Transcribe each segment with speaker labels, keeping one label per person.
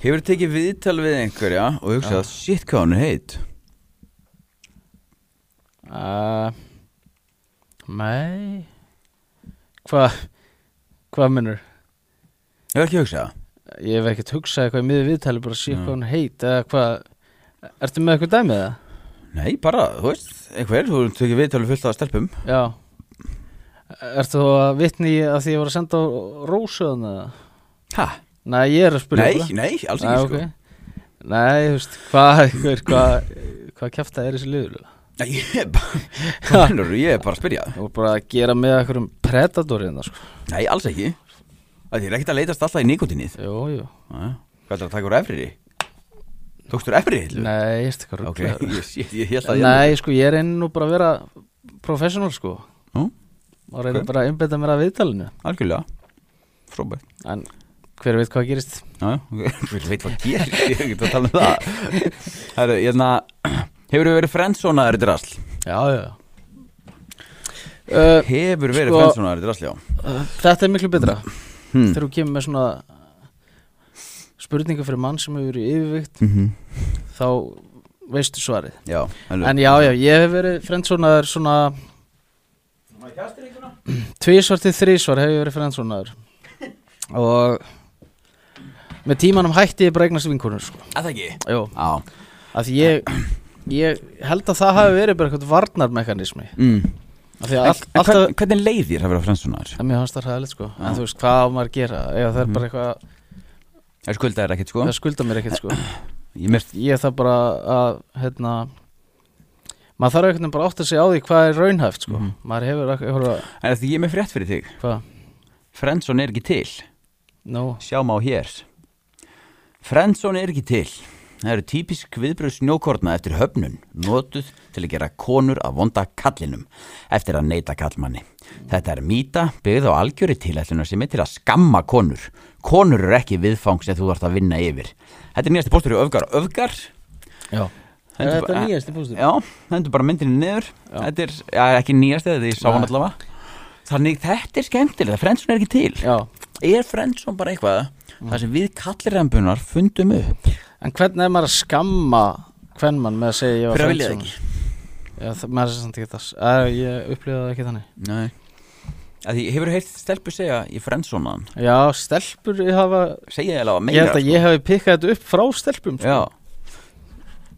Speaker 1: Hefur tekið viðtal við einhverja og hugsað, shit hvað hún er heit
Speaker 2: Uh, nei Hvað Hvað minnur?
Speaker 1: Hefur ekki hugsað það?
Speaker 2: Ég hef ekkert hugsað eitthvað í miður viðtali bara að sé
Speaker 1: Já.
Speaker 2: hvað hún heit eða hvað Ertu með eitthvað dæmið það?
Speaker 1: Nei, bara, þú veist, einhver, þú hefur tekið viðtal við fullt af stelpum
Speaker 2: Já Ertu þú að vitni í að því ég var að senda á rósuðan eða?
Speaker 1: Ha?
Speaker 2: Nei, ég er að spyrja
Speaker 1: Nei,
Speaker 2: bara.
Speaker 1: nei, alls
Speaker 2: Nei,
Speaker 1: ekki sko
Speaker 2: ok. Nei, þú veist, hvað hva, hva, hva kjæfta er í þessu liður?
Speaker 1: Nei, ég er bara, hvað mennur, ég er bara að spyrja
Speaker 2: Þú er bara að gera með einhverjum predator hérna, sko.
Speaker 1: Nei, alls ekki Það er ekkert að leitast alltaf í nikotinnið
Speaker 2: Jú, jú.
Speaker 1: Jæja. Hvað er að taka úr efriði? Tókstur efriði hillu?
Speaker 2: Nei, ég veist eitthvað
Speaker 1: Ok,
Speaker 2: rugglega.
Speaker 1: ég, ég, ég held að ég
Speaker 2: Nei, sko, ég er einn nú bara að vera professional, sko.
Speaker 1: Nú,
Speaker 2: Og reyna
Speaker 1: Ok.
Speaker 2: bara að einbetta mér að viðtalinu.
Speaker 1: Algjörlega, frábært
Speaker 2: En hver veit hvað gerist?
Speaker 1: Já, ok, hver veit hvað gerir Ég er ekki að tala um það Herru, hérna Hefur verið frendsonaður í drasl?
Speaker 2: Já, já. Uh,
Speaker 1: Hefur verið
Speaker 2: Sko-
Speaker 1: sko... frendsonaður í drasl, já
Speaker 2: uh, þetta er miklu betra.
Speaker 1: hmm.
Speaker 2: Þegar þú kemur með svona spurningu fyrir mann sem hefur verið yfirvikt,
Speaker 1: mm -hmm.
Speaker 2: þá veistu svarið.
Speaker 1: Já, alveg
Speaker 2: En já, já, ég hef verið frendsonaður svona Tvísvar til þrísvar hef ég verið frendsonaður Og Með tímanum hætti ég bara að eignast vinkonur sko.
Speaker 1: Að það ekki?
Speaker 2: Jó,
Speaker 1: Já
Speaker 2: af því ég Ég held að það hafi verið bara eitthvað varnarmekanismi
Speaker 1: mm.
Speaker 2: Af því að
Speaker 1: En,
Speaker 2: all,
Speaker 1: en
Speaker 2: alltaf
Speaker 1: hvern, hvernig leiðir að vera frendsonaður?
Speaker 2: Það mér hans það hræðilegt sko
Speaker 1: Já.
Speaker 2: En þú veist, hvað á maður að gera Eða það er bara eitthvað,
Speaker 1: Það skuldaðir ekkert, sko
Speaker 2: það skulda mér ekkert sko
Speaker 1: Ég myrst
Speaker 2: Ég þarf bara að, hérna Maður þarf einhvern veginn bara að átta sig á því hvað er raunhæft sko
Speaker 1: Mhm.
Speaker 2: Maður hefur eitthvað,
Speaker 1: En því ég er með frétt fyrir þig
Speaker 2: hvað,
Speaker 1: Frendson er ekki til
Speaker 2: nú
Speaker 1: Sjá má hér Frendson er ekki til Það eru típisk viðbröð snjókorna eftir höfnun notuð til að gera konur að vonda kallinum eftir að neyta kallmanni. Þetta er mýta byggð á algjöri tilætlunar sem er til að skamma konur. Konur eru ekki viðfang sem þú þarft að vinna yfir. Þetta er nýjast postur í öfgar. Öfgar?
Speaker 2: Já
Speaker 1: Hendur
Speaker 2: Er Þetta
Speaker 1: bara-
Speaker 2: er nýjasti póstur
Speaker 1: Já, hendur bara myndinni niður.
Speaker 2: Já.
Speaker 1: Þetta er ja, ekki nýjast eða ég sá hann
Speaker 2: Nei.
Speaker 1: allavega. Þannig þetta er skemmtilega. Frendson er ekki til.
Speaker 2: Já
Speaker 1: Er Friendzone bara eitthvað Það sem við kallirembunar fundum upp
Speaker 2: En hvernig er maður að skamma hvern mann með að segja ég var
Speaker 1: Fyrir að vilja það
Speaker 2: friendzone? Já, það, maður er samt ekki þess að ég upplifa það ekki þannig
Speaker 1: Nei að Því hefur heilt stelpu segja í Friendzone hann
Speaker 2: Já, stelpur hafa
Speaker 1: Segja ég alveg meira
Speaker 2: Ég held að ég hefði pikkað þetta upp frá stelpum
Speaker 1: sko. Já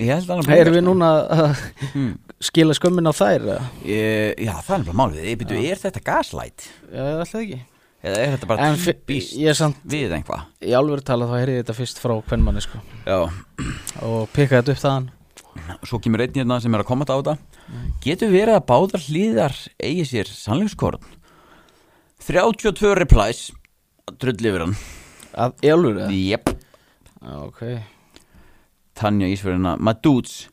Speaker 1: Ég held að hann
Speaker 2: Erum við núna að
Speaker 1: mm.
Speaker 2: skila skömmin á þær? eða?
Speaker 1: ég, Já það er bara málið Ég byrju, er þetta gaslight?
Speaker 2: Já, alltaf ekki
Speaker 1: Eða er þetta bara
Speaker 2: En fi-
Speaker 1: típist
Speaker 2: ég er samt
Speaker 1: við einhvað?
Speaker 2: Í alvöru tala þá heyrði ég þetta fyrst frá hvern manni sko
Speaker 1: Já
Speaker 2: Og pikkað þetta upp þaðan
Speaker 1: Svo kemur einn hérna sem er að komast á þetta
Speaker 2: Mm.
Speaker 1: Getur verið að báðar hlýðar eigi sér sannleikskorn 32 replies Drull yfir hann
Speaker 2: Að í alvöru eða?
Speaker 1: Jep
Speaker 2: Já, ok
Speaker 1: Tanja Ísverðina My dudes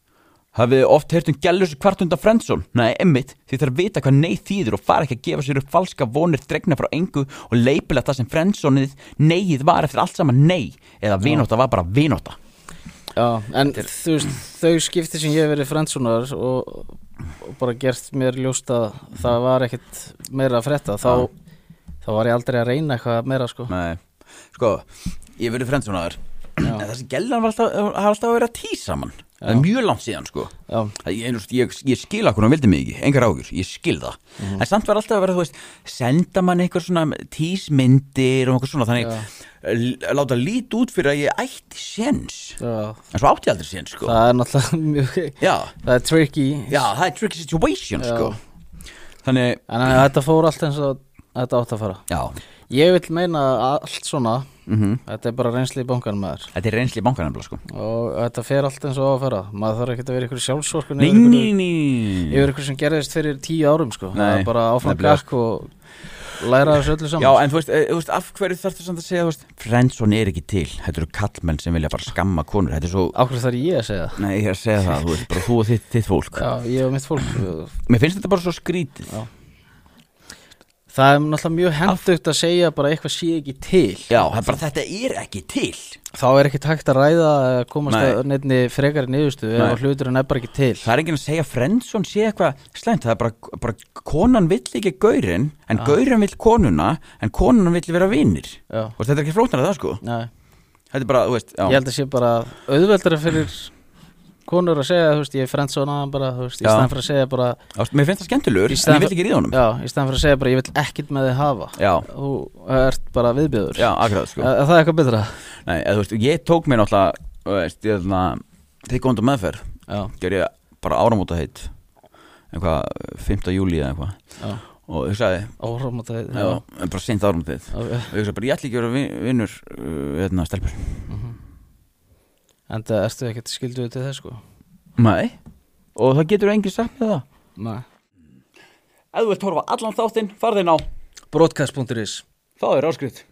Speaker 1: Hafið þið oft heyrt um gælusu kvartunda frendson? Nei, emmitt, þið þarf að vita hvað nei þýður og fara ekki að gefa sér upp falska vonir dregna frá engu og leipila það sem frendsonið neyið var eftir allt saman nei eða vinóta var bara vinóta.
Speaker 2: Já, en þú veist, þau skipti sem ég hef verið frendsonar og, og bara gert mér ljóst að það var ekkit meira að frétta þá, þá var ég aldrei að reyna eitthvað meira sko
Speaker 1: Nei, sko, ég verið frendsonaður.
Speaker 2: Já.
Speaker 1: En þessi gælan var alltaf, eh, hafa alltaf að vera tís saman. Það er mjög langt síðan, sko.
Speaker 2: Já,
Speaker 1: Það- Ég, ég, ég, ég skil okkur, hún vildi mig ekki, engar ágjur, ég skil það
Speaker 2: Mhm.
Speaker 1: En samt var alltaf að vera, þú veist, senda mann einhver svona tísmyndir og einhver svona Þannig
Speaker 2: Já.
Speaker 1: l- láta lít út fyrir að ég ætti séns
Speaker 2: já,
Speaker 1: En svo átti ég aldrei séns, sko
Speaker 2: það er náttúrulega mjög,
Speaker 1: Já,
Speaker 2: það er tricky
Speaker 1: já, það er tricky situation,
Speaker 2: Já.
Speaker 1: sko Þannig,
Speaker 2: En en þetta fór allt eins og þetta átt að fara
Speaker 1: já,
Speaker 2: Ég vil meina að allt svona,
Speaker 1: Mhm.
Speaker 2: þetta er bara reynsli í bankanum með þér
Speaker 1: þetta er reynsli í bankanum, sko
Speaker 2: og þetta fer allt eins og á að fara maður þarf ekkert að vera ykkur sjálfsorkun
Speaker 1: Nei,
Speaker 2: yfir einhverju-
Speaker 1: nei, nei
Speaker 2: yfir ykkur sem gerðist fyrir tíu árum sko. það
Speaker 1: Nei,
Speaker 2: er bara áfram
Speaker 1: nefnilega.
Speaker 2: gakk og læra þessu öllu saman
Speaker 1: Já, en þú veist, eh, þú veist, af hverju þarftu samt að segja, þú veist Frendson er ekki til, þetta eru kallmenn sem vilja bara skamma konur Þetta er svo,
Speaker 2: Akkur þarf ég að segja það?
Speaker 1: nei, ég er að segja það, þú veist, bara þú og þitt, þitt fólk
Speaker 2: Já, ég og mitt fólk uh,
Speaker 1: Mér finnst þetta bara svo skrítið
Speaker 2: Já. Það er náttúrulega mjög hendugt að segja bara eitthvað sé ekki til
Speaker 1: Já, það er bara þetta er ekki til
Speaker 2: Þá er ekki takt að ræða að komast
Speaker 1: Nei.
Speaker 2: að nefni frekari niðurstöðu
Speaker 1: Nei.
Speaker 2: ef að hluturinn er bara ekki til
Speaker 1: Það er enginn að segja Friendzone sé eitthvað slæmt Það er bara, bara konan vill ekki gaurin En gaurin vill konuna En konan vill vera vinnir
Speaker 2: Já,
Speaker 1: Og þetta er ekki flóknar að það sko
Speaker 2: nei,
Speaker 1: Það Þetta er bara, þú veist, já
Speaker 2: Ég held að sé bara auðveldara fyrir konur að segja, þú veist, ég er frendsonaðan bara, þú veist, í
Speaker 1: Já.
Speaker 2: staðan fyrir að segja bara
Speaker 1: Ást, Mér finnst það skemmtilegur,
Speaker 2: Í
Speaker 1: en
Speaker 2: staðan
Speaker 1: ég vil ekki ríða honum
Speaker 2: Já, í staðan fyrir að segja bara, ég vil ekkert með þig hafa
Speaker 1: Já,
Speaker 2: Þú ert bara viðbjöður
Speaker 1: já, akkurat, sko
Speaker 2: Er er það eitthvað betra?
Speaker 1: Nei, eða, þú veist, ég tók mér náttúrulega, þú veist, ég þarna Þegar ég komandi meðferð,
Speaker 2: Já,
Speaker 1: ger ég bara áramóta heitt Einhvað, 5. júli eða eitthvað
Speaker 2: já,
Speaker 1: Og ég sagði,
Speaker 2: áhrum og það
Speaker 1: já, en bara seint áramóta heitt
Speaker 2: já.
Speaker 1: Og ég sagði bara, ég ætla ekki að vera vin- vinur, uh, hérna, stelpur
Speaker 2: En það mhm. ertu ekkert skilduð til þess, sko
Speaker 1: Nei, og það getur engin sagt með það
Speaker 2: Nei
Speaker 1: Ef þú vilt horfa allan þáttinn, farðin á
Speaker 2: Broadcast.is
Speaker 1: Þá er áskrift